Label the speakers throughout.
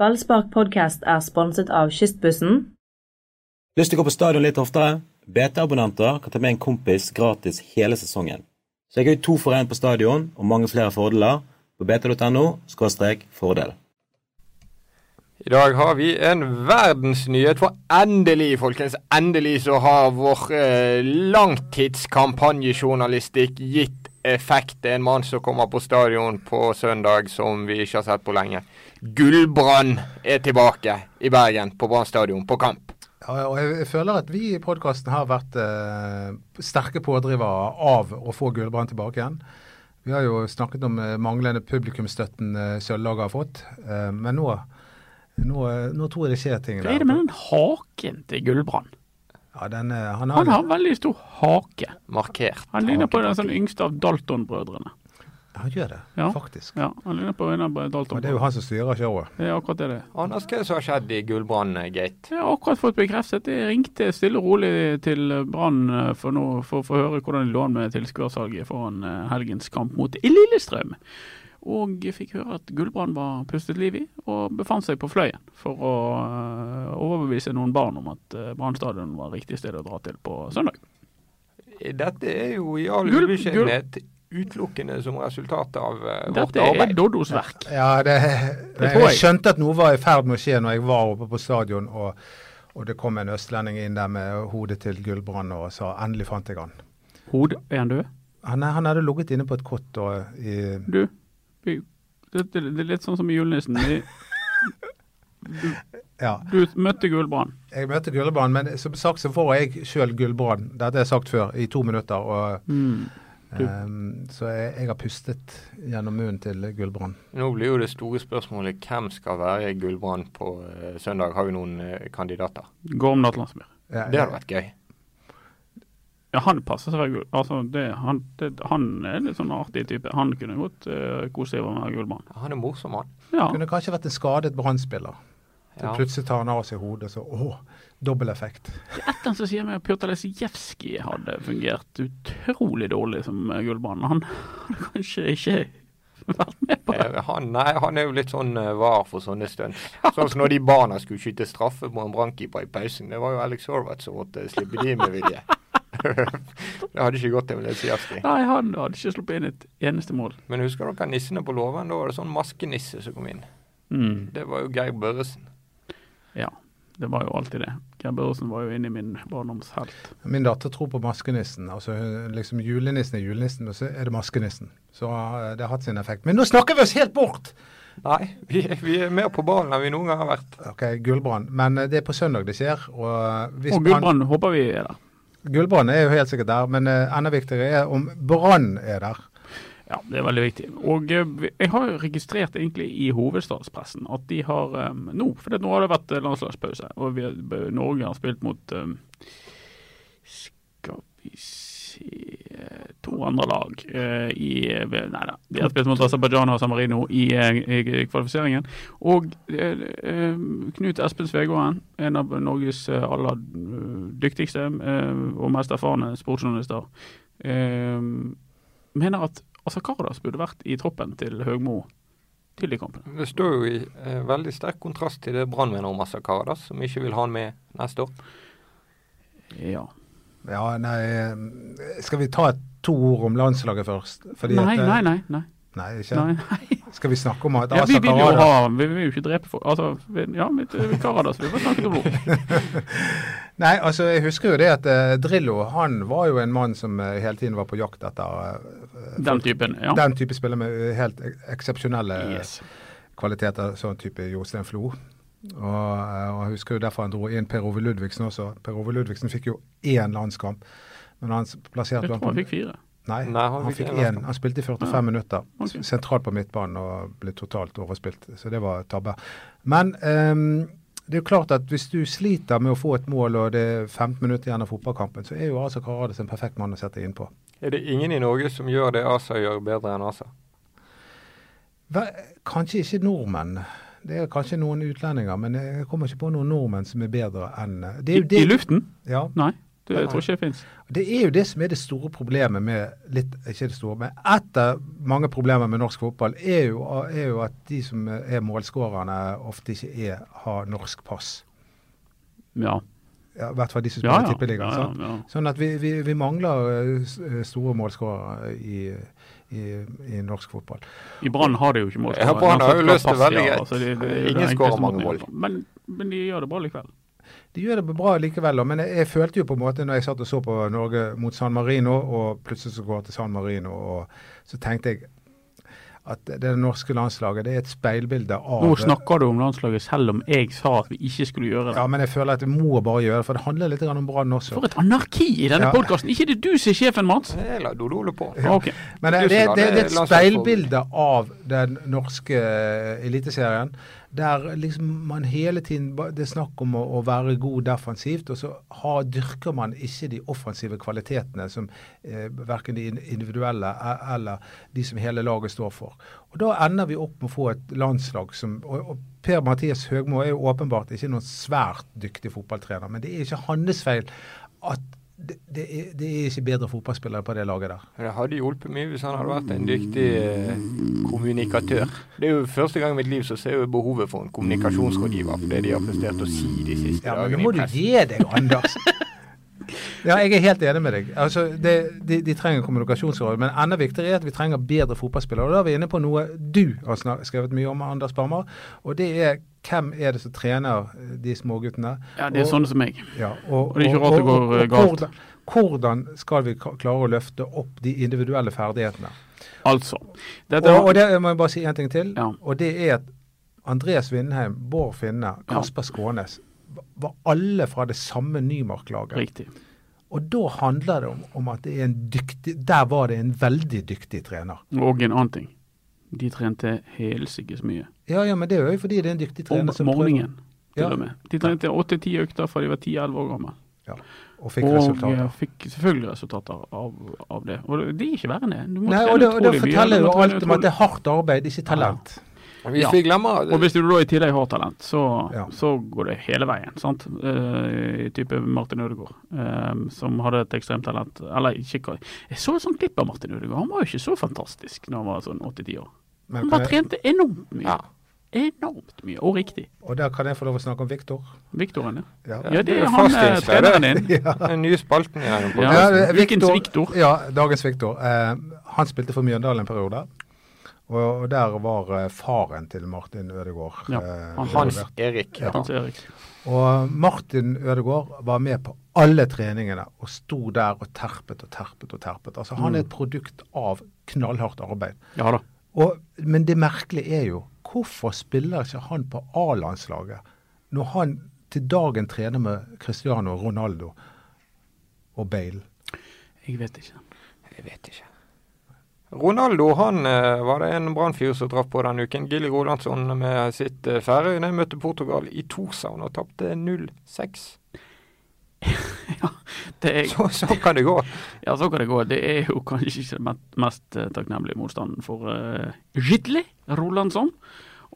Speaker 1: Ballspark podcast er sponset av Kystbussen.
Speaker 2: Lyst til å gå på stadion litt oftere? BT-abonnenter kan ta med en kompis gratis hele sesongen. Så jeg har jo to for én på stadion, og mange flere fordeler. På bt.no fordel.
Speaker 3: I dag har vi en verdensnyhet, for endelig, folkens, endelig så har vår eh, langtidskampanjejournalistikk gitt effekt. Det er en mann som kommer på stadion på søndag som vi ikke har sett på lenge. Gullbrann er tilbake i Bergen, på Brann stadion, på kamp.
Speaker 4: Ja, og jeg, jeg føler at vi i podkasten har vært eh, sterke pådrivere av å få Gullbrand tilbake igjen. Vi har jo snakket om eh, manglende publikumsstøtten eh, Sølvlaget har fått, eh, men nå, nå, eh, nå tror jeg det skjer ting
Speaker 5: Hva er det med den haken til Gullbrand?
Speaker 4: Ja, den, eh, han har,
Speaker 5: Han har veldig stor hake.
Speaker 3: Markert.
Speaker 5: Han ligner på den sånn yngste av Dalton-brødrene.
Speaker 4: han gjør det,
Speaker 5: Ja.
Speaker 4: faktisk.
Speaker 5: Ja, han ligner på en av
Speaker 4: Og det er jo
Speaker 5: Dalton-brødrene.
Speaker 4: han som styrer showet.
Speaker 5: Det er akkurat det det er.
Speaker 3: Anders, hva er det som har skjedd i Gullbrann-gate?
Speaker 5: Jeg har akkurat fått bekreftet. Jeg ringte stille og rolig til Brann eh, for, nå- for for å høre hvordan de lå an med tilskuersalget foran eh, helgens kamp mot Lillestrøm. Og jeg fikk høre at Gullbrann var pustet liv i, og befant seg på Fløyen for å eh, overbevise noen barn om at eh, Brann stadion var riktig sted å dra til på søndag.
Speaker 3: Dette er jo i all
Speaker 5: Gull-
Speaker 3: ubeskjedenhet utelukkende som resultat av eh, vårt
Speaker 5: Dette er
Speaker 3: arbeid.
Speaker 5: Doddos verk.
Speaker 4: Ja, det,
Speaker 5: Det tror
Speaker 4: jeg
Speaker 5: jeg.
Speaker 4: skjønte at noe var i ferd med å skje når jeg var oppe på stadion og, og det kom en østlending inn der med hodet til Gullbrand og sa 'endelig fant jeg han'.
Speaker 5: Hode, er han død?
Speaker 4: Han, han hadde ligget inne på et kott og i
Speaker 5: Du, vi- det, det, det er litt sånn som i julenissen. Vi-
Speaker 4: Ja.
Speaker 5: Du møtte Gullbrann.
Speaker 4: Jeg møtte Gullbrand, men som sagt så får jeg sjøl Gullbrand. Dette har jeg sagt før, i to minutter. Og,
Speaker 5: Mm. Du-
Speaker 4: ehm, så jeg, jeg har pustet gjennom munnen til Gullbrand.
Speaker 3: Nå blir jo det store spørsmålet hvem skal være Gullbrann på eh, søndag. Har vi noen eh, kandidater?
Speaker 5: Gormdal Landsmyr.
Speaker 4: Ja,
Speaker 3: Det hadde vært gøy.
Speaker 5: Ja, han passer seg gull. Altså, det, han, det, han er litt sånn artig type. Han kunne godt eh, kose seg med å være gullmann.
Speaker 3: Han er morsom, han.
Speaker 5: Ja.
Speaker 4: Kunne kanskje vært en skadet brannspiller.
Speaker 3: Ja.
Speaker 4: Plutselig tar han av seg hodet, så åh, dobbel effekt.
Speaker 5: Etter så sier meg at Pjotr Lesijevskij hadde fungert utrolig dårlig som eh, gullmann. Han hadde kanskje ikke vært med på det.
Speaker 3: Eh, Han, nei, han er jo litt sånn eh, var for sånne stunts. Sånn som når de barna skulle skyte straffe på en brannkeeper i pausen. Det var jo Alex Horvath som måtte slippe de med vilje. det hadde ikke gått til med Lesijevskij.
Speaker 5: Nei, han hadde ikke sluppet inn et eneste mål.
Speaker 3: Men husker dere nissene på låven? Da var det sånn maskenisse som kom inn.
Speaker 5: Mm.
Speaker 3: Det var jo Geir Børresen.
Speaker 5: Ja, det var jo alltid det. Geir Børresen var jo inne i min barndomshelt.
Speaker 4: Min datter tror på maskenissen. Altså hun- liksom julenissen er julenissen, men så er det maskenissen. Så eh, det har hatt sin effekt. Men nå snakker vi oss helt bort!
Speaker 3: Nei, vi, vi er mer på ballen enn vi noen gang har vært.
Speaker 4: Ok, Gullbrand. Men eh, det er på søndag det skjer. Og, hvis
Speaker 5: Og
Speaker 4: Brann-
Speaker 5: Gullbrann håper vi er der.
Speaker 4: Gullbrand er jo helt sikkert der, men eh, enda viktigere er om Brann er der.
Speaker 5: Ja, det er veldig viktig. Og eh, vi- jeg har jo registrert egentlig i hovedstadspressen at de har eh, nå For det, nå har det vært eh, landslagspause, og vi, har- b- Norge har spilt mot eh, Skal vi se eh, To andre lag eh, i eh, Nei da. De har spilt mot Aserbajdsjan og San Marino i, eh, i kvalifiseringen. Og eh, eh, Knut Espen Svegården, en av Norges eh, aller eh, dyktigste eh, og mest erfarne sportsjournalister, eh, mener at Altså Kardas burde vært i troppen til Høgmo til de kampene.
Speaker 3: Det står jo i eh, veldig sterk kontrast til det Brann mener om Assa Kardas, som ikke vil ha han med neste år.
Speaker 5: Ja.
Speaker 4: Ja, nei eh, Skal vi ta to ord om landslaget først? Fordi
Speaker 5: Nei,
Speaker 4: at, eh,
Speaker 5: nei, nei. nei,
Speaker 4: nei, ikke?
Speaker 5: nei, nei.
Speaker 4: Skal vi snakke om at
Speaker 5: Ja, vi
Speaker 4: Asa
Speaker 5: vil jo
Speaker 4: Karada
Speaker 5: ha Vi vil jo ikke drepe folk. Altså, vi, ja, vi, vi Karadas vil bare snakke om blod.
Speaker 4: Nei, altså jeg husker jo det at eh, Drillo han var jo en mann som eh, hele tiden var på jakt etter eh,
Speaker 5: Den typen. Ja.
Speaker 4: den type spiller med eh, helt ek- eksepsjonelle eh,
Speaker 5: Yes.
Speaker 4: kvaliteter, sånn type Jostein Flo. Og, eh, og jeg husker jo derfor han dro inn Per Ove Ludvigsen også. Per Ove Ludvigsen fikk jo én landskamp, men han s- plasserte jo
Speaker 5: Jeg tror
Speaker 4: han på
Speaker 5: han fikk fire.
Speaker 4: Nei,
Speaker 3: Nei, han
Speaker 4: han,
Speaker 3: fikk
Speaker 4: fikk
Speaker 3: en
Speaker 4: én.
Speaker 3: landskamp.
Speaker 4: Han spilte i 45
Speaker 5: Ja.
Speaker 4: minutter.
Speaker 5: Ok.
Speaker 4: Sentralt på midtbanen og ble totalt overspilt. Så det var tabbe. Men ehm, det er jo klart at hvis du sliter med å få et mål og det er 15 minutter igjen av fotballkampen, så er jo altså Karades en perfekt mann å sette inn på.
Speaker 3: Er det ingen i Norge som gjør det Asa gjør bedre enn Asa?
Speaker 4: Hva- Kanskje ikke nordmenn. Det er kanskje noen utlendinger, men jeg kommer ikke på noen nordmenn som er bedre enn eh, det er
Speaker 5: I,
Speaker 4: jo det,
Speaker 5: I luften?
Speaker 4: Ja,
Speaker 5: Nei. Det tror ikke jeg fins.
Speaker 4: Det er jo det som er det store problemet med litt, ikke det store, men Et av mange problemer med norsk fotball er jo, er jo at de som er målskårerne, ofte ikke er, har norsk pass.
Speaker 5: Ja.
Speaker 4: Ja, I hvert fall de som
Speaker 5: Ja,
Speaker 4: spiller
Speaker 5: ja.
Speaker 4: tippeligaen.
Speaker 5: Ja, ja,
Speaker 4: sant?
Speaker 5: ja.
Speaker 4: Sånn at vi, vi, vi mangler eh, s- eh, store målskårere i, i, i norsk fotball.
Speaker 5: I Brann har de jo ikke målskårere.
Speaker 3: Ja, Brann har jo løst
Speaker 5: Uansett hva
Speaker 3: det
Speaker 5: pass de har,
Speaker 3: veldig greit.
Speaker 5: altså, det- det- det er
Speaker 3: Ingen
Speaker 5: den enkleste
Speaker 3: skårer mange
Speaker 5: måten å
Speaker 3: mål.
Speaker 5: gjøre det på. Men, men de gjør det bra likevel.
Speaker 4: De gjør det bra likevel, da, men jeg, jeg følte jo på en måte når jeg satt og så på Norge mot San Marino, og plutselig så går jeg til San Marino, og så tenkte jeg at det det norske landslaget det er et speilbilde av
Speaker 5: Nå snakker du om landslaget selv om jeg sa at vi ikke skulle gjøre det.
Speaker 4: Ja, men jeg føler at jeg må bare gjøre det, for det handler litt grann om Brann også.
Speaker 5: For et anarki i denne
Speaker 4: Ja.
Speaker 5: podkasten! Ikke det du som er sjefen, Mats!
Speaker 3: Jeg la Dodo holde på.
Speaker 5: Ok.
Speaker 4: Men det, det, det, det er et
Speaker 3: Landslagsfotball.
Speaker 4: speilbilde av den norske eh, eliteserien, der liksom man hele tiden ba- Det er snakk om å, å være god defensivt, og så har, dyrker man ikke de offensive kvalitetene som eh, verken de in- individuelle e- eller de som hele laget står for. Og Da ender vi opp med å få et landslag som og, og Per Mathias Høgmo er jo åpenbart ikke noen svært dyktig fotballtrener, men det er ikke hans feil at det, det, er, det er ikke bedre fotballspillere på det laget der.
Speaker 3: Det hadde hjulpet mye hvis han hadde vært en dyktig eh, kommunikatør. Det er jo første gang i mitt liv så ser jeg jo behovet for en kommunikasjonsrådgiver for det de har prestert å si de siste
Speaker 4: Ja, men nå
Speaker 3: dagene
Speaker 4: må
Speaker 3: i
Speaker 4: du
Speaker 3: pressen.
Speaker 4: gi deg, Anders. Ja, jeg er helt enig med deg. Altså, det, de, de trenger kommunikasjonsråd. Men enda viktigere er at vi trenger bedre fotballspillere. Og da er vi inne på noe du har snak- skrevet mye om, Anders Barmer. Og det er hvem er det som trener eh, de småguttene?
Speaker 5: Ja, det er
Speaker 4: Og-
Speaker 5: sånne som meg.
Speaker 4: ja,
Speaker 5: Og det er ikke rart det går, eh, galt.
Speaker 4: Hvordan, hvordan skal vi ka- klare å løfte opp de individuelle ferdighetene?
Speaker 5: Altså. Dette
Speaker 4: Og, og det jeg må jeg bare si en ting til.
Speaker 5: Ja.
Speaker 4: Og det er at Andreas Vindheim, Bård Finne, Kasper Skånes var alle fra det samme Nymark-laget.
Speaker 5: Riktig.
Speaker 4: Og da handler det om, om at det er en dyktig Der var det en veldig dyktig trener.
Speaker 5: Og en annen ting. De trente helsikes mye.
Speaker 4: Ja, ja, men det er jo fordi det er en dyktig
Speaker 5: Om
Speaker 4: trener som prøver
Speaker 5: morgenen, til
Speaker 4: Ja.
Speaker 5: og med. De trente åtte-ti økter fra de var ti-elleve år gamle.
Speaker 4: ja, og fikk
Speaker 5: og eh,
Speaker 4: resultater.
Speaker 5: fikk selvfølgelig resultater av, av det. Og det- det er ikke verre enn det. Du må
Speaker 4: Nei,
Speaker 5: trene
Speaker 4: og det, og det
Speaker 5: utrolig mye,
Speaker 4: forteller
Speaker 5: du må
Speaker 4: jo
Speaker 5: trene
Speaker 4: alt om
Speaker 5: utrolig-
Speaker 4: at det er hardt arbeid, ikke talent.
Speaker 3: Hvis
Speaker 5: Ja.
Speaker 3: vi glemmer
Speaker 5: Og hvis du da i tillegg har talent, så,
Speaker 4: Ja.
Speaker 5: så går det hele veien. sant? Eh, type Martin Ødegaard, eh, som hadde et ekstremt talent. Eller ikke hva- Jeg så et sånt klipp av Martin Ødegaard. Han var jo ikke så fantastisk når han var sånn 80-10 år.
Speaker 4: Men kan
Speaker 5: Han bare
Speaker 4: jeg,
Speaker 5: trente enormt mye.
Speaker 3: Ja.
Speaker 5: Enormt mye, og riktig.
Speaker 4: og der kan jeg få lov å snakke om Viktor.
Speaker 5: Viktoren,
Speaker 4: Ja.
Speaker 5: ja. Ja, det
Speaker 3: Det er
Speaker 5: er han eh,
Speaker 3: fastlingsleder.
Speaker 5: treneren din.
Speaker 3: Den nye spalten i denne
Speaker 5: Ja.
Speaker 3: podcasten.
Speaker 5: det- ukens
Speaker 4: Victor-
Speaker 5: Victor.
Speaker 4: Ja, dagens Viktor. Eh, han spilte for Mjøndalen en periode. Og, og der var eh, faren til Martin Ødegaard.
Speaker 5: Ja,
Speaker 4: eh,
Speaker 5: han-
Speaker 3: Hans
Speaker 4: involvert.
Speaker 3: Erik.
Speaker 4: Ja.
Speaker 5: Hans Erik.
Speaker 4: Og Martin Ødegaard var med på alle treningene og sto der og terpet og terpet og terpet. Altså Han er
Speaker 5: Mm.
Speaker 4: et produkt av knallhardt arbeid.
Speaker 5: Ja da.
Speaker 4: Og, men det merkelige er jo, hvorfor spiller ikke han på A-landslaget når han til dagen trener med Cristiano Ronaldo og Bale?
Speaker 5: Jeg vet ikke.
Speaker 3: Jeg vet ikke. Ronaldo han eh, var det en brannfyr som traff på den uken. Gilly Rolandsson med sitt eh, Færøyene møtte Portugal i Torshavn og tapte 0-6.
Speaker 5: Det er,
Speaker 3: Så, så kan det gå.
Speaker 5: ja, så kan det gå. Det er jo kanskje ikke den met- mest eh, takknemlige motstanden for uh, Ridley Rolandsson.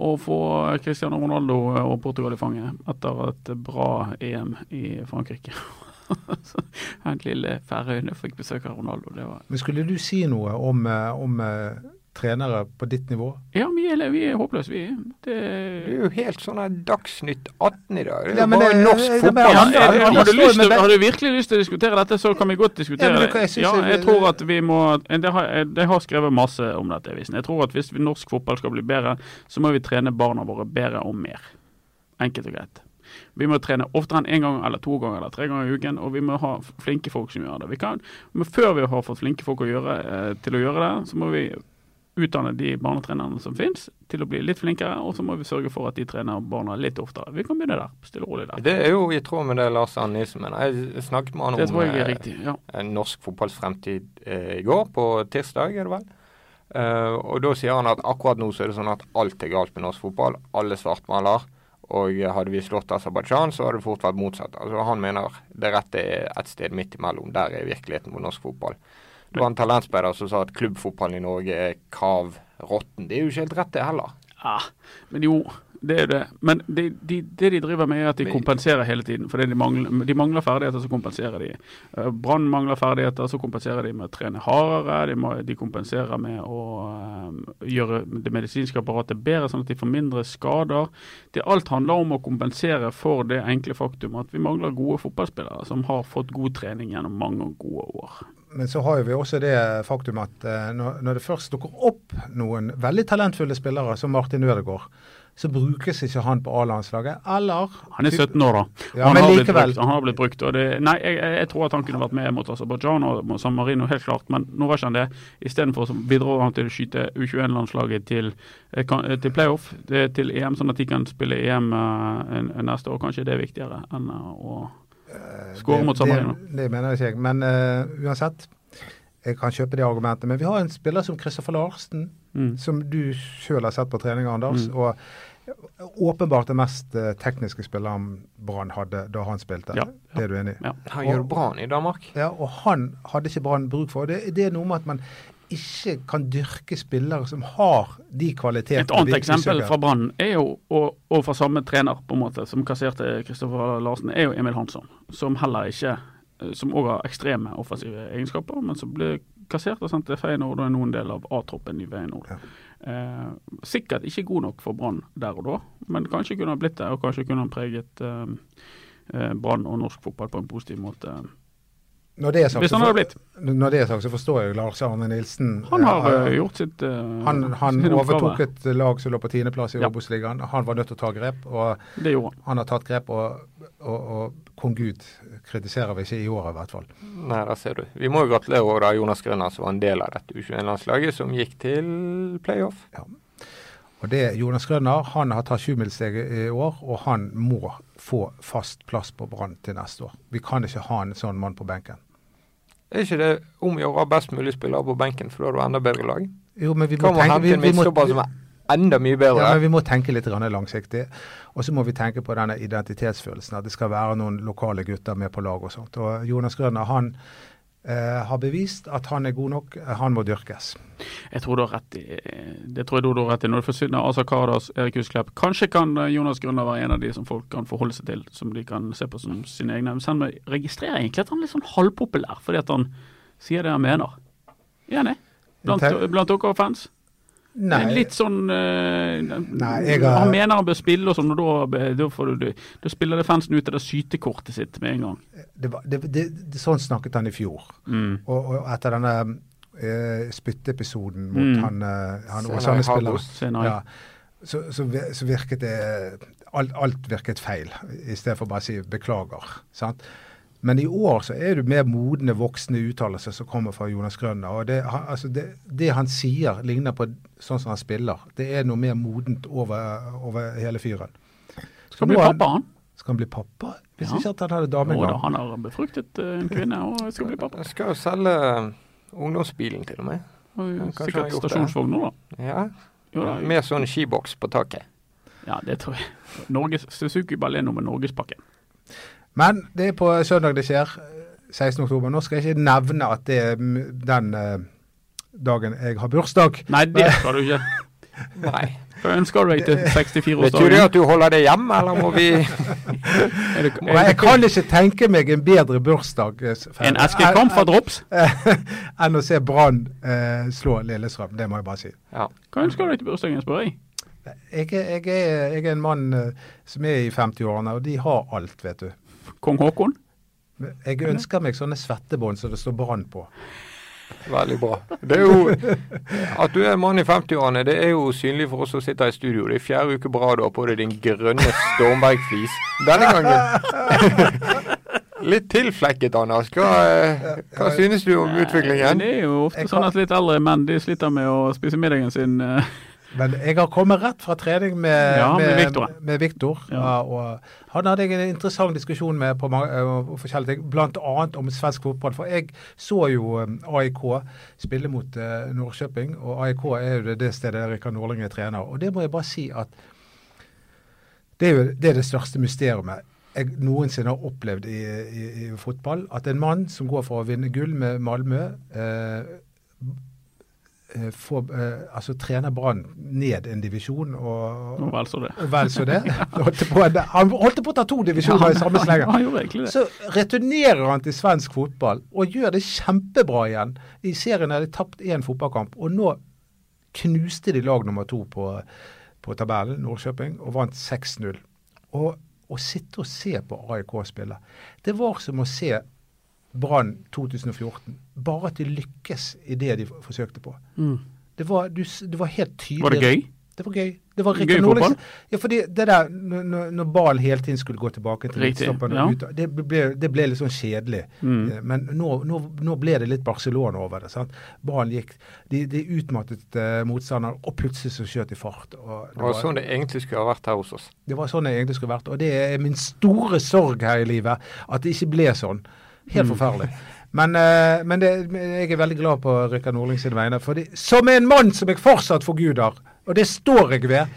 Speaker 5: Å få Cristiano Ronaldo eh, og Portugal i fanget etter et bra EM i Frankrike. Så Den lille Færøyene fikk besøk av Ronaldo. Det var
Speaker 4: Men skulle du si noe om, eh, om eh, trenere på ditt nivå?
Speaker 5: Ja, vi er, vi er håpløse, vi. Det,
Speaker 3: Det er jo helt sånn her Dagsnytt 18 i dag. Det er
Speaker 4: Ja,
Speaker 3: jo
Speaker 4: men
Speaker 3: bare
Speaker 4: det-
Speaker 3: norsk
Speaker 4: det- det-
Speaker 3: fotball.
Speaker 4: men
Speaker 5: ja,
Speaker 4: han-
Speaker 5: er,
Speaker 4: han-
Speaker 5: har, du
Speaker 4: han står
Speaker 5: eh, lyst til,
Speaker 4: med-
Speaker 5: har du virkelig lyst til å diskutere dette, så kan vi godt
Speaker 4: Ja,
Speaker 5: diskutere
Speaker 4: men
Speaker 5: det.
Speaker 4: du, jeg synes
Speaker 5: Ja,
Speaker 4: jeg-
Speaker 5: jeg tror at vi må Jeg har, jeg, jeg har skrevet masse om dette i avisen. Jeg tror at hvis vi- norsk fotball skal bli bedre, så må vi trene barna våre bedre og mer. Enkelt og greit. Vi må trene oftere enn én gang eller to ganger eller tre ganger i uken, og vi må ha f- flinke folk som gjør det. Vi kan, men før vi har fått flinke folk å gjøre, eh, til å gjøre det, så må vi utdanne de barnetrenerne som finnes, til å bli litt flinkere, og så må vi sørge for at de trener barna litt oftere. Vi kan begynne der, stille og rolig der.
Speaker 3: Det er jo i tråd med det Lars Arne Nilsen mener. Jeg snakket med han om
Speaker 5: Det tror jeg er
Speaker 3: eh,
Speaker 5: riktig, ja.
Speaker 3: eh, norsk fotballs fremtid eh, i går, på tirsdag er det vel. Eh, og da sier han at akkurat nå så er det sånn at alt er galt med norsk fotball. Alle svartmaler. Og eh, hadde vi slått Aserbajdsjan, så hadde det fort vært motsatt. Altså Han mener det rette er et sted midt imellom. Der er virkeligheten på norsk fotball. Det var en talentspeider som sa at klubbfotballen i Norge er kav råtten. Det er jo ikke helt rett, det heller.
Speaker 5: Ah, men jo, Det er det. Men det de, det de driver med, er at de kompenserer hele tiden. Fordi de mangler, de mangler ferdigheter, så kompenserer de. Eh, Brann mangler ferdigheter, så kompenserer de med å trene hardere. De, må, de kompenserer med å eh, gjøre det medisinske apparatet bedre, sånn at de får mindre skader. Det Alt handler om å kompensere for det enkle faktum at vi mangler gode fotballspillere som har fått god trening gjennom mange gode år.
Speaker 4: Men så har jo vi også det faktum at eh, når, når det først dukker opp noen veldig talentfulle spillere, som Martin Ødegaard, så brukes ikke han på A-landslaget. Eller
Speaker 5: Han er
Speaker 4: typ-
Speaker 5: 17 år, da.
Speaker 4: Ja,
Speaker 5: han,
Speaker 4: men
Speaker 5: har blitt
Speaker 4: likevel.
Speaker 5: brukt, han har blitt brukt. Og det, nei, jeg, jeg jeg tror at han kunne vært med mot Aserbajdsjan og mot San Marino, helt klart. Men nå var ikke han det. Istedenfor så bidro han til å skyte U21-landslaget til, eh, kan- eh, til playoff, det- til EM, sånn at de kan spille EM eh, en- en neste år. Kanskje det er viktigere enn eh, å skåre
Speaker 4: Eh, Det-
Speaker 5: mot San Marino.
Speaker 4: Det, det mener ikke jeg. Men eh, uansett, jeg kan kjøpe det argumentet. Men vi har en spiller som Kristoffer Larsen,
Speaker 5: Mm.
Speaker 4: som du sjøl har sett på trening, Anders.
Speaker 5: Mm.
Speaker 4: og eh, Åpenbart den mest eh, tekniske spilleren Brann hadde da han spilte.
Speaker 5: Ja,
Speaker 4: Det er du enig i?
Speaker 3: Han gjør det bra han i Danmark.
Speaker 4: Ja, og han hadde ikke Brann bruk for. Det, det er noe med at man ikke kan dyrke spillere som har de kvalitetene.
Speaker 5: Et annet
Speaker 4: vi- vi
Speaker 5: eksempel
Speaker 4: søker.
Speaker 5: fra Brann er jo, og, og fra samme trener på en måte, som kasserte Kristoffer Larsen, er jo Emil Hansson. Som heller ikke eh, Som òg har ekstreme offensive egenskaper, men som ble kassert og sendt til Feyenoord og er noen del av A-troppen i Feyenoord.
Speaker 4: Ja.
Speaker 5: Eh, sikkert ikke god nok for Brann der og da, men kanskje kunne han blitt det. Og kanskje kunne han preget eh, eh, Brann og norsk fotball på en positiv måte.
Speaker 4: Når det er sagt,
Speaker 5: Hvis han
Speaker 4: så-
Speaker 5: hadde blitt.
Speaker 4: Når det er sagt, så forstår jeg Lars Arne Nilsen.
Speaker 5: Han har
Speaker 4: Ja,
Speaker 5: eh, gjort sitt eh,
Speaker 4: han, han
Speaker 5: sin oppgave.
Speaker 4: overtok et lag som lå på tiendeplass i
Speaker 5: Ja.
Speaker 4: Obos-ligaen. Han var nødt til å ta grep, og
Speaker 5: Det gjorde han.
Speaker 4: han har tatt grep. Og, og, og kong Gud kritiserer vi ikke i året, i hvert fall.
Speaker 3: Nei, der ser du. Vi må jo gratulere også da Jonas Grønner, som var en del av dette U21-landslaget, som gikk til playoff.
Speaker 4: Og det er Jonas Grønner. Han har tatt sjumilssteget i år, og han må få fast plass på Brann til neste år. Vi kan ikke ha en sånn mann på benken.
Speaker 3: Er ikke det om å gjøre best mulig spillere på benken, for da har du enda bedre lag?
Speaker 4: Jo, men vi må
Speaker 3: Hva må
Speaker 4: tenke,
Speaker 3: hente
Speaker 4: vi,
Speaker 3: en
Speaker 4: vi må,
Speaker 3: midtstopper som er enda mye bedre?
Speaker 4: ja, men vi må tenke litt grann langsiktig. Og så må vi tenke på denne identitetsfølelsen, at det skal være noen lokale gutter med på lag og sånt. Og Jonas Grønner han eh, har bevist at han er god nok, han må dyrkes.
Speaker 5: Jeg tror du har rett i Det tror jeg du har rett i. Når det forsvinner Asa Kardas, Erik Husklepp Kanskje kan eh, Jonas Grønner være en av de som folk kan forholde seg til, som de kan se på som sine egne. Men Selv om jeg registrerer egentlig at han er litt sånn halvpopulær, fordi at han sier det han mener. Er han det? Blant,
Speaker 4: Intel-
Speaker 5: blant dere fans? Litt sånn eh,
Speaker 4: jeg har-
Speaker 5: Han mener han bør spille og sånn, og da, be- da, får du, da spiller det fansen ut av det sytekortet sitt med en gang.
Speaker 4: det var, det, det, det, sånn snakket han i fjor.
Speaker 5: Mm.
Speaker 4: Og, og etter denne eh, spytteepisoden mot
Speaker 5: Mm.
Speaker 4: han, eh, han
Speaker 3: Senai
Speaker 4: Åsane-spilleren.
Speaker 3: Harbos.
Speaker 5: Senai.
Speaker 4: Ja. Så, så, vi- så virket det alt, alt virket feil, i stedet for bare å si beklager. Sant? Men i år så er det mer modne, voksne uttalelser som kommer fra Jonas Grønner. Og det, han, altså det, det han sier, ligner på sånn som han spiller. Det er noe mer modent over, over hele fyren. Så
Speaker 5: Skal bli
Speaker 4: nå er-
Speaker 5: pappa, han.
Speaker 4: Skal han bli pappa? Hvis
Speaker 5: Ja.
Speaker 4: ikke at han hadde
Speaker 5: Å,
Speaker 4: dame
Speaker 5: da,
Speaker 4: engang.
Speaker 5: han har befruktet eh, en kvinne og skal bli pappa.
Speaker 3: Jeg skal jo selge um, ungdomsbilen til og med.
Speaker 5: Og
Speaker 3: Kanskje han har
Speaker 5: Sikkert
Speaker 3: gjort det.
Speaker 5: stasjonsvogn nå, da.
Speaker 3: Ja.
Speaker 5: Jo da,
Speaker 3: Med sånn skiboks på taket.
Speaker 5: Ja, det tror jeg. Norges, Suzuki Baleno med Norgespakken.
Speaker 4: Men det er på søndag det skjer. 16. oktober. Nå skal jeg ikke nevne at det er m- den eh, dagen jeg har bursdag.
Speaker 5: Nei, det skal du ikke.
Speaker 3: Nei.
Speaker 5: Hva ønsker du deg til
Speaker 3: Betyr det
Speaker 5: 64-årsdagen?
Speaker 3: at du holder det hjemme, eller må vi
Speaker 5: Er det-
Speaker 4: Og jeg kan ikke tenke meg en bedre bursdag eh, s-
Speaker 5: En eskekamp fra drops?
Speaker 4: enn å se Brann eh, slå Lillestrøm. Det må jeg bare si.
Speaker 3: Ja.
Speaker 5: Hva ønsker du deg til bursdagen, spør jeg.
Speaker 4: Jeg, er- jeg, er, jeg er en mann eh, som er i 50-årene, og de har alt, vet du.
Speaker 5: Kong Haakon?
Speaker 4: Jeg ønsker meg sånne svettebånd som det står Brann på.
Speaker 3: Veldig bra. Det er jo, at du er en mann i 50-årene, det er jo synlig for oss som sitter i studio. Det er fjerde uke på rad du har på deg din grønne Stormberg-flis. Denne gangen Litt tilflekket, Anders. Hva, eh, hva synes du om utviklingen?
Speaker 5: Det er jo ofte
Speaker 4: Jeg
Speaker 5: sånn
Speaker 4: kan-
Speaker 5: at litt eldre menn de sliter med å spise middagen sin. eh,
Speaker 4: Men jeg har kommet rett fra trening med,
Speaker 5: Ja, med Victor.
Speaker 4: med Victor,
Speaker 5: Ja.
Speaker 4: ja, og han hadde jeg en interessant diskusjon med på mange, eh, forskjellige ting, bl.a. om svensk fotball. For jeg så jo eh, AIK spille mot eh, Norrköping, og AIK er jo det, det stedet Rikard Norling er trener. Og det må jeg bare si at det er jo det, er det største mysteriet jeg noensinne har opplevd i, i, i fotball. At en mann som går for å vinne gull med Malmö eh, eh, få, eh, altså, trener Brann ned en divisjon og,
Speaker 5: Nå vel så det.
Speaker 4: og vel så det. Holdt på, å- han holdt på å ta to divisjoner i samme slenger.
Speaker 5: Han gjorde egentlig det.
Speaker 4: Så returnerer han til svensk fotball og gjør det kjempebra igjen. I serien har de tapt én fotballkamp, og nå knuste de lag nummer to på, på tabellen, Norrköping, og vant 6-0. Og å sitte og se på AIK spille, det var som å se Brann 2014. Bare at de lykkes i det de forsøkte på. Det var, du, s- det var helt tydelig.
Speaker 5: Mm. Var det gøy?
Speaker 4: Det var gøy. Det var
Speaker 5: Gøy
Speaker 4: Rikard
Speaker 5: fotball?
Speaker 4: Nordliksen. Ja, fordi det der når- når, når ballen hele tiden skulle gå tilbake til
Speaker 5: Riktig,
Speaker 4: midtstopperen og
Speaker 5: ja.
Speaker 4: ut, det ble, det ble litt sånn kjedelig. Eh, Men nå, nå, nå ble det litt Barcelona over det. sant? Ballen gikk De, de utmattet eh, motstanderen, og plutselig så skjøt de fart. Og det,
Speaker 3: Det var
Speaker 4: var,
Speaker 3: sånn det egentlig skulle ha vært her hos oss.
Speaker 4: det var sånn det egentlig skulle vært. Og det er min store sorg her i livet, at det ikke ble sånn. Helt forferdelig. Men, eh, men det, men jeg er veldig glad på Rikard Nordling sine vegne. Fordi, som en mann som jeg fortsatt forguder, og det står jeg ved.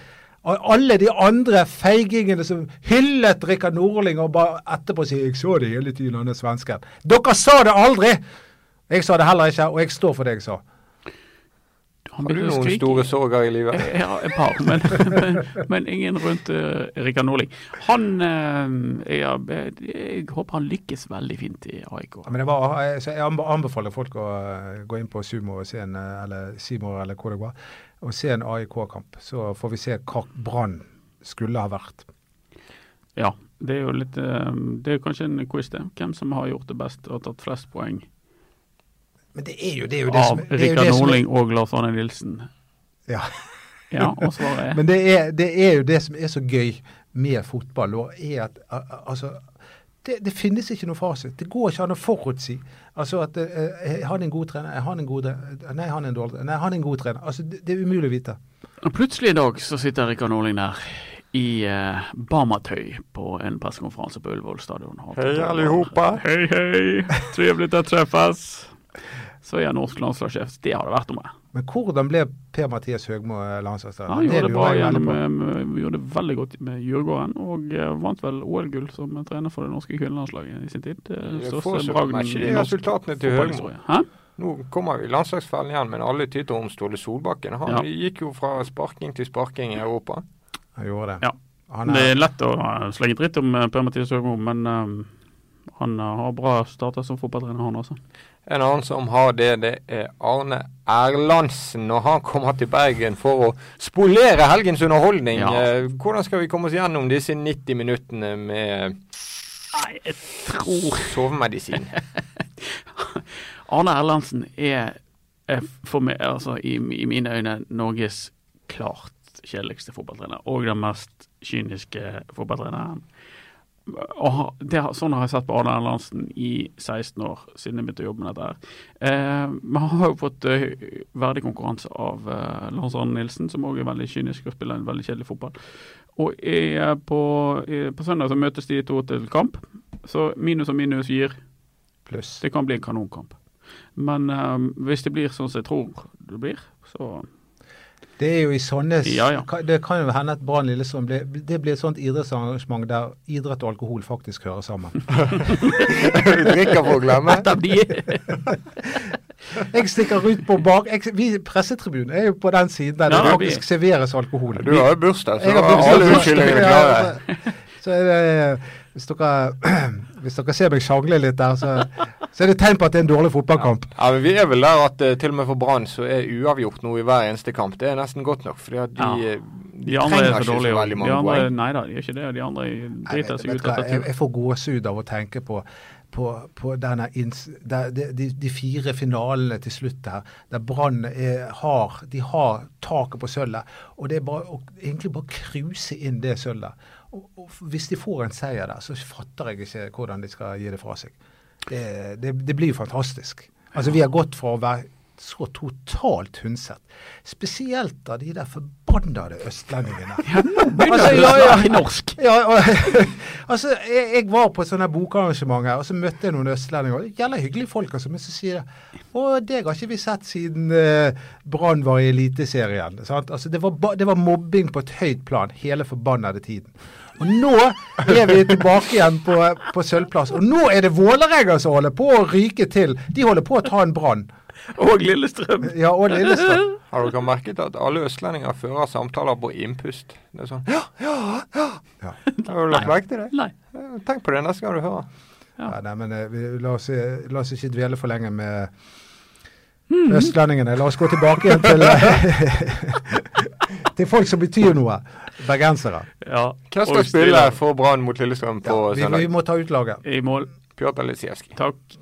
Speaker 4: Og alle de andre feigingene som hyllet Rikard Nordling og bare etterpå sier 'Jeg så det hele tiden, han er svensken'. Dere sa det aldri! Jeg sa det heller ikke, og jeg står for det jeg sa.
Speaker 5: Han
Speaker 3: Har du
Speaker 5: begynte å
Speaker 3: noen
Speaker 5: skrike.
Speaker 3: store sorger i livet?
Speaker 5: Ja, et par, men, men, men ingen rundt eh, Rikard Nordling. Han eh, ja, Jeg håper han lykkes veldig fint i AIK.
Speaker 4: Ja, Men det var, eh, så jeg anbe- anbefaler folk å eh, gå inn på Sumo og se en, eh, eller Seymour eller hvor det var, og se en AIK-kamp. Så får vi se hva Brann skulle ha vært.
Speaker 5: Ja, det er jo litt eh, Det er jo kanskje en quiz, det. Hvem som har gjort det best og tatt flest poeng
Speaker 4: Men det er jo det, er jo det som
Speaker 5: av
Speaker 4: det er jo
Speaker 5: Rikard
Speaker 4: det som er-
Speaker 5: Nordling og Lars Arne Nilsen?
Speaker 4: Ja.
Speaker 5: Ja, og svaret er
Speaker 4: Men det er, det er jo det som er så gøy med fotball, og er at a- a- altså det, det finnes ikke noe fasit. Det går ikke an å forutsi. Altså at eh, er han en god trener? Er han en god trener? Nei, han er en dårlig trener. Nei, han er en god trener. Altså, det, det er umulig å vite.
Speaker 5: Og plutselig i dag så sitter Rikard Nordling der i eh, barmatøy på en pressekonferanse på Ullevål stadion.
Speaker 3: Hei, allihopa.
Speaker 5: Hei, hei. Trevligt att träffas. Så er jeg norsk landslagssjef. Det har det vært om meg.
Speaker 4: Men hvordan ble Per-Mathias Høgmo eh, landslagstrener?
Speaker 5: Han gjorde det bra
Speaker 4: lurer jeg veldig
Speaker 5: igjen.
Speaker 4: på.
Speaker 5: Med, med, gjorde det veldig godt med Djurgården, og eh, vant vel OL-gull som trener for det norske kvinnelandslaget i sin tid. Det er
Speaker 3: Jeg får
Speaker 5: Største
Speaker 3: så
Speaker 5: bragden
Speaker 3: matcher
Speaker 5: i
Speaker 3: de
Speaker 5: norsk
Speaker 3: resultatene til Høgmo.
Speaker 5: fotballhistorie. Hæ?
Speaker 3: Nå kommer vi i landslagsfellen igjen, men alle tyter om Ståle Solbakken. Han
Speaker 5: Ja.
Speaker 3: gikk jo fra sparking til sparking i Europa.
Speaker 4: Han gjorde det.
Speaker 5: Ja.
Speaker 4: Han
Speaker 5: Det
Speaker 4: er,
Speaker 5: er lett å eh, slenge dritt om eh, Per-Mathias Høgmo, men eh, han eh, har bra starta som fotballtrener, han også.
Speaker 3: En annen som har det, det er Arne Erlandsen. Og han kommer til Bergen for å spolere helgens underholdning.
Speaker 5: Ja.
Speaker 3: Eh, Hvordan skal vi komme oss gjennom disse 90 minuttene med
Speaker 5: Nei, jeg tror
Speaker 3: sovemedisin?
Speaker 5: Arne Erlandsen er, er for meg, altså, i, i mine øyne Norges klart kjedeligste fotballtrener, og den mest kyniske fotballtreneren. Og ha- det, har- sånn har jeg sett på Arne Erlandsen i 16 år, siden jeg begynte å jobbe med dette. her. Eh, Men han har jo fått eh, verdig konkurranse av eh, Lars Arne Nilsen, som òg er veldig kynisk og spiller en veldig kjedelig fotball. Og er på, eh, på søndag så møtes de to til kamp, så minus og minus gir
Speaker 4: pluss.
Speaker 5: det kan bli en kanonkamp. Men ehm, hvis det blir sånn som jeg tror det blir, så
Speaker 4: Det er jo i sånne s-
Speaker 5: Ja, ja.
Speaker 4: ka- Det kan jo hende at Brann Lillestrøm blir, det blir et sånt idrettsarrangement der idrett og alkohol faktisk hører sammen.
Speaker 3: Vi drikker for å glemme.
Speaker 5: Dette blir
Speaker 4: Jeg stikker ut på bak... Jeg, vi, pressetribunen er jo på den siden der
Speaker 5: Ja,
Speaker 4: det
Speaker 5: vi-
Speaker 4: faktisk serveres alkohol.
Speaker 3: Du har jo bursdag, så
Speaker 4: Jeg har bursdag.
Speaker 3: alle unnskyldningene er
Speaker 4: Ja,
Speaker 3: klare.
Speaker 4: altså, Så er det, eh, hvis, dere, hvis dere ser meg sjangle litt der, så, så er det tegn på at det er en dårlig fotballkamp.
Speaker 3: Ja, men Vi er vel der at eh, til og med for Brann så er uavgjort nå i hver eneste kamp. Det er nesten godt nok, fordi at de,
Speaker 5: Ja.
Speaker 3: eh, de,
Speaker 5: De andre
Speaker 3: trenger
Speaker 5: er
Speaker 3: ikke
Speaker 5: så
Speaker 3: så
Speaker 5: dårlige.
Speaker 3: veldig
Speaker 5: og De
Speaker 3: mange
Speaker 5: andre,
Speaker 3: poeng.
Speaker 5: nei da, de gjør ikke det. De andre
Speaker 4: Nei,
Speaker 5: driter seg
Speaker 4: vet
Speaker 5: ut
Speaker 4: du hva,
Speaker 5: etter
Speaker 4: jeg,
Speaker 5: tur.
Speaker 4: jeg får gåsehud av å tenke på, på, på denne inns, der, de, de, de fire finalene til slutt her, der Brann er- har, de har taket på sølvet. Og det er bare å egentlig bare kruse inn det sølvet. Og, og hvis de får en seier der, så fatter jeg ikke hvordan de skal gi det fra seg. Det, det, det blir jo fantastisk. Altså, vi har gått fra å være så totalt hundset. Spesielt av de der forbannede østlendingene.
Speaker 5: Begynner
Speaker 4: Altså,
Speaker 5: du
Speaker 4: ja,
Speaker 5: å
Speaker 4: ja.
Speaker 5: snakke norsk?
Speaker 4: Ja, og, altså, jeg, jeg var på et sånt her bokarrangement her, og så møtte jeg noen østlendinger. Det gjelder hyggelige folk, altså, men så sier jeg Å, deg har ikke vi sett siden eh, Brann var i Eliteserien. Sant? Altså, det, var ba, det var mobbing på et høyt plan hele forbannede tiden. Og nå er vi tilbake igjen på, på sølvplass. Og nå er det Vålerenga som holder på å ryke til. De holder på å ta en Brann.
Speaker 5: Og Lillestrøm.
Speaker 4: Ja, og Lillestrøm.
Speaker 3: Har dere merket at alle østlendinger fører samtaler på innpust? Det er sånn Ja, ja, ja!
Speaker 4: Ja.
Speaker 3: Har du lagt merke til det?
Speaker 5: Nei.
Speaker 3: Eh, Tenk på det neste gang du hører.
Speaker 5: Ja.
Speaker 4: Ja, nei, men eh, vi, la, oss, eh, la oss ikke dvele for lenge med
Speaker 5: Mm.
Speaker 4: østlendingene. La oss gå tilbake igjen til, eh, til folk som betyr noe. Bergensere.
Speaker 5: Ja.
Speaker 3: Hvem skal
Speaker 5: Og
Speaker 3: spille
Speaker 5: Stiller
Speaker 3: for Brann mot Lillestrøm på
Speaker 4: Ja, vi, vi
Speaker 3: søndag?
Speaker 4: må ta ut laget.
Speaker 5: I mål.
Speaker 3: Pjotr Lisijevskij.
Speaker 5: Takk.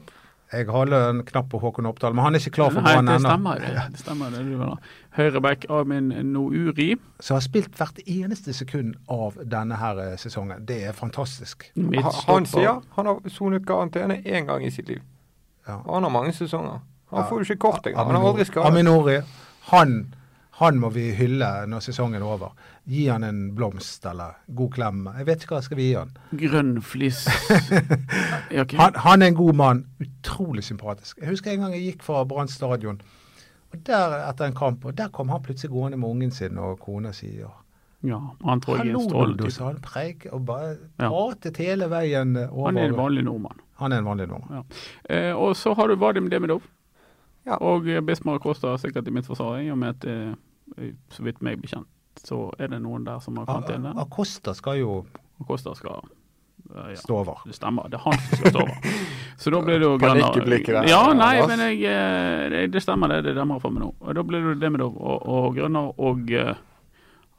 Speaker 4: Jeg holder en knapp på Håkon Oppdal, men han er ikke klar for
Speaker 5: Nei,
Speaker 4: Brann
Speaker 5: det
Speaker 4: ennå.
Speaker 5: stemmer jo det. det, stemmer jo det du mener. Høyreback Amin Nouri.
Speaker 4: Så har spilt hvert eneste sekund av denne her eh, sesongen. Det er fantastisk.
Speaker 3: Ha- Han sier han har sonet karantene én gang i sitt liv.
Speaker 4: Ja.
Speaker 3: Og han har mange sesonger. Han
Speaker 4: Ja.
Speaker 3: får jo ikke kort engang. Han har
Speaker 4: Aminor-
Speaker 3: aldri skadet.
Speaker 4: Aminori, han, han må vi hylle når sesongen er over. Gi han en blomst eller god klem. Jeg vet ikke hva skal vi gi han.
Speaker 5: Grønn flis. Ja, ok.
Speaker 4: Han, han er en god mann. Utrolig sympatisk. Jeg husker en gang jeg gikk fra Brann stadion og der etter en kamp, og der kom han plutselig gående med ungen sin og kona si. Og,
Speaker 5: Ja, han tror jeg er
Speaker 4: Hallo,
Speaker 5: en
Speaker 4: Dodo,
Speaker 5: strålende type.
Speaker 4: sa han preik, og bare
Speaker 5: Ja.
Speaker 4: pratet hele veien eh, over.
Speaker 5: Han er en vanlig nordmann.
Speaker 4: Han er en vanlig nordmann.
Speaker 5: Eh, og så har du Vadim Demidov.
Speaker 3: Ja.
Speaker 5: Og eh, Bismar Kosta sikkert i mitt forsvar, i og med at eh, så vidt meg bekjent, så er det noen der som har karantene.
Speaker 4: A- Acosta skal jo
Speaker 5: Og Kosta skal eh, ja.
Speaker 4: stå over.
Speaker 5: Det stemmer, det er han som skal stå over. Så da blir det jo
Speaker 3: Panikk i
Speaker 5: Grønner-
Speaker 3: blikket der,
Speaker 5: Ja, nei,
Speaker 3: Lars.
Speaker 5: men jeg, eh, det, det stemmer, det. Det demrer for meg nå. Og Da blir det jo Demidov og, og Grønner og eh,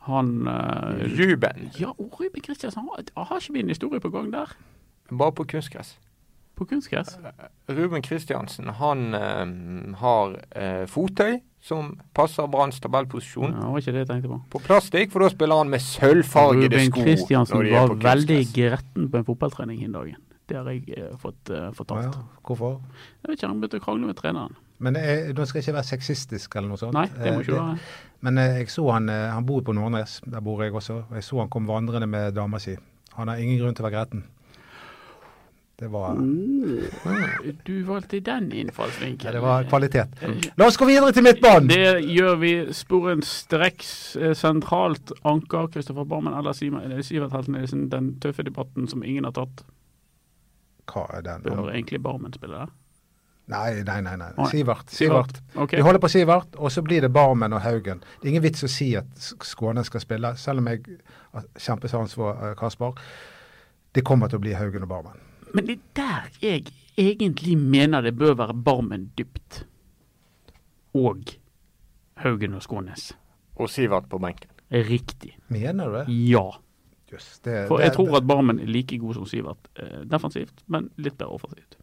Speaker 5: han eh,
Speaker 3: Ruben.
Speaker 5: Ja, og Ruben Kristiansen, har, har ikke vi en historie på gang der?
Speaker 3: Bare på kunstgress.
Speaker 5: På kunstgress?
Speaker 3: Ruben Kristiansen han eh, har eh, fottøy som passer Branns
Speaker 5: Ja,
Speaker 3: tabellposisjon.
Speaker 5: det var ikke det jeg tenkte på.
Speaker 3: På plastikk, for da spiller han med sølvfargede
Speaker 5: Ruben
Speaker 3: sko.
Speaker 5: Kristiansen
Speaker 3: når de er
Speaker 5: var
Speaker 3: på kunstgress.
Speaker 5: veldig gretten på en fotballtrening den dagen. Det har jeg eh, fått eh,
Speaker 4: Ja,
Speaker 5: fortalt.
Speaker 4: hvorfor?
Speaker 5: Jeg vet ikke, han begynte å krangle med treneren.
Speaker 4: Men jeg, nå skal jeg ikke være sexistisk eller noe sånt.
Speaker 5: Nei, det
Speaker 4: Eh,
Speaker 5: må ikke være.
Speaker 4: Men eh, jeg så han, eh, han bor på Nordnes, der bor jeg også. Og jeg så han kom vandrende med dama si. Han har ingen grunn til å være gretten. Det var,
Speaker 5: Mm. Du valgte den
Speaker 4: ja,
Speaker 5: innfallsvinkelen.
Speaker 4: det var kvalitet. La oss gå videre til midtbanen!
Speaker 5: Det gjør vi sporenstreks eh, sentralt. Anker Kristoffer Barmen eller Simen- eller Sivert Helten Nilsen. Den tøffe debatten som ingen har tatt.
Speaker 4: Hva er den?
Speaker 5: Bør egentlig Barmen spille der?
Speaker 4: Nei, nei, nei. nei.
Speaker 5: Nei.
Speaker 4: Sivert. Sivert.
Speaker 5: Ok.
Speaker 4: Vi holder på Sivert, og så blir det Barmen og Haugen. Det er ingen vits å si at S- Skåne skal spille, selv om jeg har kjempesans for eh, Kasper. Det kommer til å bli Haugen og Barmen.
Speaker 5: Men det er der jeg egentlig mener det bør være Barmen dypt. Og Haugen og Skånes.
Speaker 3: Og Sivert på benken.
Speaker 5: Riktig.
Speaker 4: Mener du det?
Speaker 5: Ja.
Speaker 4: Jøss. det-
Speaker 5: For
Speaker 4: det-
Speaker 5: jeg tror at Barmen er like god som Sivert eh, defensivt, men litt bedre offensivt.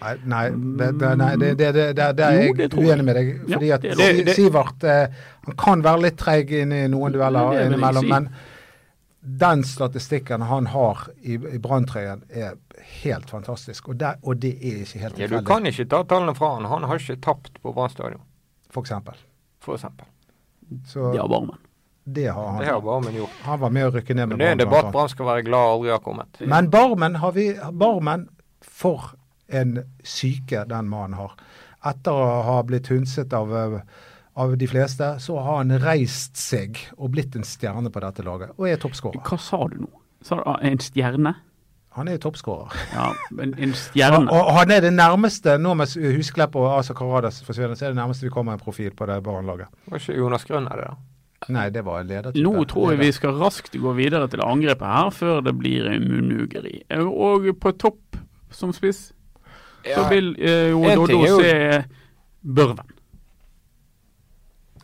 Speaker 4: Nei, nei, det- det- nei det, det, det, det, det er
Speaker 5: Jo,
Speaker 4: jeg
Speaker 5: det tror jeg.
Speaker 4: uenig med deg.
Speaker 5: Ja,
Speaker 4: Fordi at
Speaker 5: det er
Speaker 3: lov.
Speaker 4: Si-
Speaker 3: Det- det-
Speaker 4: Sivert eh, han kan være litt treig inn i noen
Speaker 5: Det
Speaker 4: dueller
Speaker 5: vil jeg
Speaker 4: innimellom,
Speaker 5: si.
Speaker 4: men den statistikken han har i, i Brann-trøyen er helt fantastisk. Og, der, og det er ikke helt
Speaker 3: Ja, du
Speaker 4: tilfeldig,
Speaker 3: kan ikke ta tallene fra han. Han har ikke tapt på Brann stadion,
Speaker 4: for eksempel.
Speaker 3: for eksempel.
Speaker 4: Så
Speaker 5: Ja, Barmen.
Speaker 4: det har
Speaker 3: Det har
Speaker 4: han.
Speaker 3: Barmen gjort.
Speaker 4: Han var med å rykke ned
Speaker 3: Men
Speaker 4: med
Speaker 3: det er en
Speaker 4: Brann,
Speaker 3: debatt
Speaker 4: blant annet.
Speaker 3: Brann skal være glad aldri har kommet.
Speaker 4: Men Barmen har vi Barmen for en syke den mannen har. Etter å ha blitt hundset av, eh, av de fleste, så har han reist seg og blitt en stjerne på dette laget, og er toppskårer.
Speaker 5: Hva sa du nå? Sa du ah, en stjerne?
Speaker 4: Han er jo toppskårer.
Speaker 5: Ja, en, en
Speaker 4: Og,
Speaker 5: stjerne.
Speaker 4: og han er det nærmeste, nå mens Husklepp og Asa Karadas forsvinner, så er det nærmeste vi kommer en profil på det barnelaget.
Speaker 3: Var ikke Jonas Grønn er det, da?
Speaker 4: Nei, det var en ledertype.
Speaker 5: Nå tror jeg vi
Speaker 4: Leder.
Speaker 5: skal raskt gå videre til angrepet her, før det blir munnugeri. Eh, Og på topp, som spiss, så
Speaker 3: Ja.
Speaker 5: vil eh, jo
Speaker 3: En ting
Speaker 5: Doddo
Speaker 3: er jo-
Speaker 5: se eh, Børven.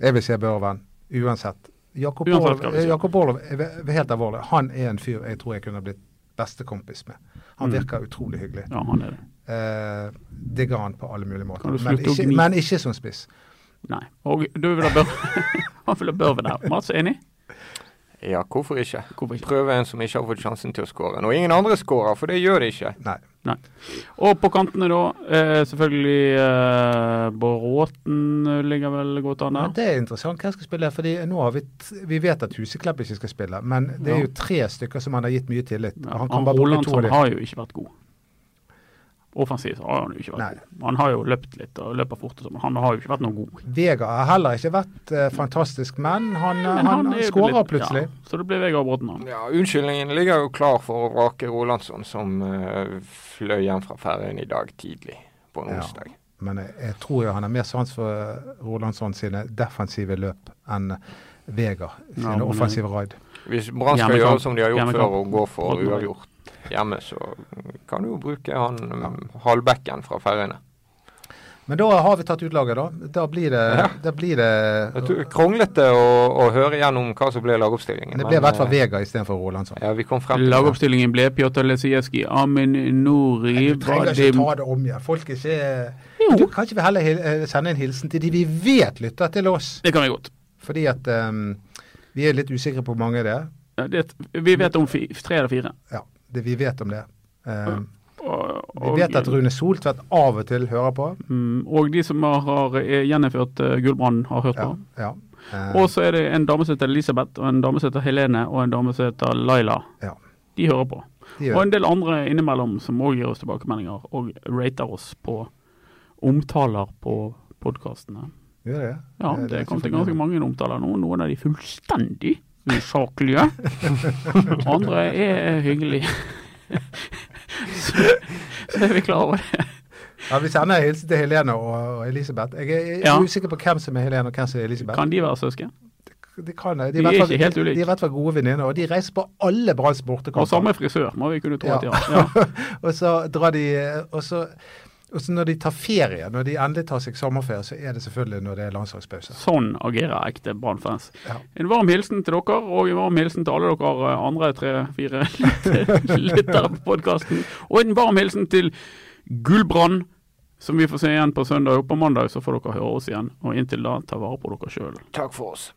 Speaker 4: Jeg vil se Børven, uansett. Jakob
Speaker 5: Uansett
Speaker 4: Borlov,
Speaker 5: hva vi sier.
Speaker 4: Jakob Borlov er ve- helt alvorlig. Han er en fyr jeg tror jeg kunne blitt bestekompis med.
Speaker 5: Mm.
Speaker 4: Han virker utrolig hyggelig.
Speaker 5: Ja, han er det.
Speaker 4: Eh, digger han på alle mulige måter.
Speaker 5: Kan du
Speaker 4: Men
Speaker 5: slutte å
Speaker 4: ikke,
Speaker 5: gni?
Speaker 4: men ikke som spiss.
Speaker 5: Nei. Og du vil ha Børven. han vil ha Børven her. Mats, enig?
Speaker 3: Ja, hvorfor ikke?
Speaker 5: Hvorfor ikke?
Speaker 3: Prøve en som ikke har fått sjansen til å skåre. Når ingen andre skårer, for det gjør de ikke.
Speaker 4: Nei.
Speaker 5: Nei. Og på kantene, da. Eh, selvfølgelig eh, Bråten ligger vel godt an
Speaker 4: Men
Speaker 5: der.
Speaker 4: det er interessant hvem skal spille. Fordi nå har vi, t vi vet at Huseklepp ikke skal spille, men det er
Speaker 5: Ja.
Speaker 4: jo tre stykker som han har gitt mye tillit. og han
Speaker 5: Ja, han
Speaker 4: kan bare bruke
Speaker 5: Roland
Speaker 4: to av
Speaker 5: som
Speaker 4: dem.
Speaker 5: har jo ikke vært god. Offensivt har han jo ikke vært
Speaker 4: Nei.
Speaker 5: god. Han har jo løpt litt og løper fort og sånn, men han har jo ikke vært noe god.
Speaker 4: Vegard har heller ikke vært eh, fantastisk, men han,
Speaker 5: Men
Speaker 4: han,
Speaker 5: er jo
Speaker 4: skårer
Speaker 5: litt-
Speaker 4: plutselig.
Speaker 5: Ja, så det blir Vegard Bråten, da.
Speaker 3: Ja, Unnskyldningen ligger jo klar for å vrake Rolandsson, som eh, fløy hjem fra Færøyene i dag tidlig på en
Speaker 4: Ja.
Speaker 3: onsdag.
Speaker 4: men jeg, jeg tror jo han har mer sans for eh, Rolandsson sine defensive løp enn Vega
Speaker 5: Ja,
Speaker 4: sine
Speaker 5: men- eh,
Speaker 4: offensive raid.
Speaker 3: Hvis Brann skal
Speaker 5: Hjemmekamp.
Speaker 3: gjøre som de har gjort
Speaker 5: Hjemmekamp.
Speaker 3: før og gå for
Speaker 5: Oddvar.
Speaker 3: uavgjort hjemme, så kan du jo bruke han mm, halvbekken fra Færøyene.
Speaker 4: Men da har vi tatt ut laget, da. Da blir det,
Speaker 3: Ja.
Speaker 4: da blir det,
Speaker 3: Jeg tror det er Kronglete å, å høre gjennom hva som ble lagoppstillingen.
Speaker 4: det
Speaker 3: men,
Speaker 4: ble i hvert fall
Speaker 3: eh,
Speaker 4: Vega istedenfor Rolandsson.
Speaker 3: Ja, vi kom frem til det.
Speaker 5: Lagoppstillingen ble Pjotr Lesijevskij, Amin Nori, Vadim
Speaker 4: det om igjen. Folk er ikke Du,
Speaker 5: Jo,
Speaker 4: Kan ikke vi heller hil- eh, sende en hilsen til de vi vet lytter til oss?
Speaker 5: det kan vi godt.
Speaker 4: Fordi at ehm, vi er litt usikre på hvor mange det er.
Speaker 5: Ja, Det, vi vet om fi, tre eller fire.
Speaker 4: Ja, det vi vet om det. Ehm,
Speaker 5: Og,
Speaker 4: vi vet at Rune Soltvedt av og til hører på.
Speaker 5: Mm, og de som har, har eh, gjennomført uh, Gullbrannen, har hørt
Speaker 4: Ja,
Speaker 5: på.
Speaker 4: ja. Ehm,
Speaker 5: Og så er det en dame som heter Elisabeth, og en dame som heter Helene, og en dame som heter Laila.
Speaker 4: Ja.
Speaker 5: De hører på.
Speaker 4: de gjør det.
Speaker 5: Og en del andre innimellom som òg gir oss tilbakemeldinger, og rater oss på omtaler på podkastene.
Speaker 4: Gjør det.
Speaker 5: Ja,
Speaker 4: Eh,
Speaker 5: det
Speaker 4: er
Speaker 5: er kommet
Speaker 4: ikke
Speaker 5: ganske mange omtaler nå. Noen av de fullstendig usaklige. Andre er hyggelige. Så, så er vi klar over det.
Speaker 4: Ja, Vi sender en hilsen til Helene og og Elisabeth. Jeg er
Speaker 5: Ja.
Speaker 4: usikker på hvem som er Helene og hvem som er Elisabeth.
Speaker 5: Kan de være søsken?
Speaker 4: De, kan, de, er i
Speaker 5: er
Speaker 4: hvert fall-
Speaker 5: ikke helt
Speaker 4: de er
Speaker 5: ulike.
Speaker 4: i hvert fall gode venninner, og de reiser på alle Branns bortekamper.
Speaker 5: Og samme frisør, må vi kunne tro at de
Speaker 4: Ja.
Speaker 5: har. Ja.
Speaker 4: Og så drar de og så, og så når de tar ferie, når de endelig tar seg sommerferie, så er det selvfølgelig når det er landslagspause.
Speaker 5: Sånn agerer ekte Brann-fans.
Speaker 4: Ja.
Speaker 5: En varm hilsen til dere, og en varm hilsen til alle dere eh, andre tre-fire lyttere på podkasten. Og en varm hilsen til Gullbrann, som vi får se igjen på søndag. Og på mandag så får dere høre oss igjen. Og inntil da, ta vare på dere sjøl.
Speaker 3: Takk for oss.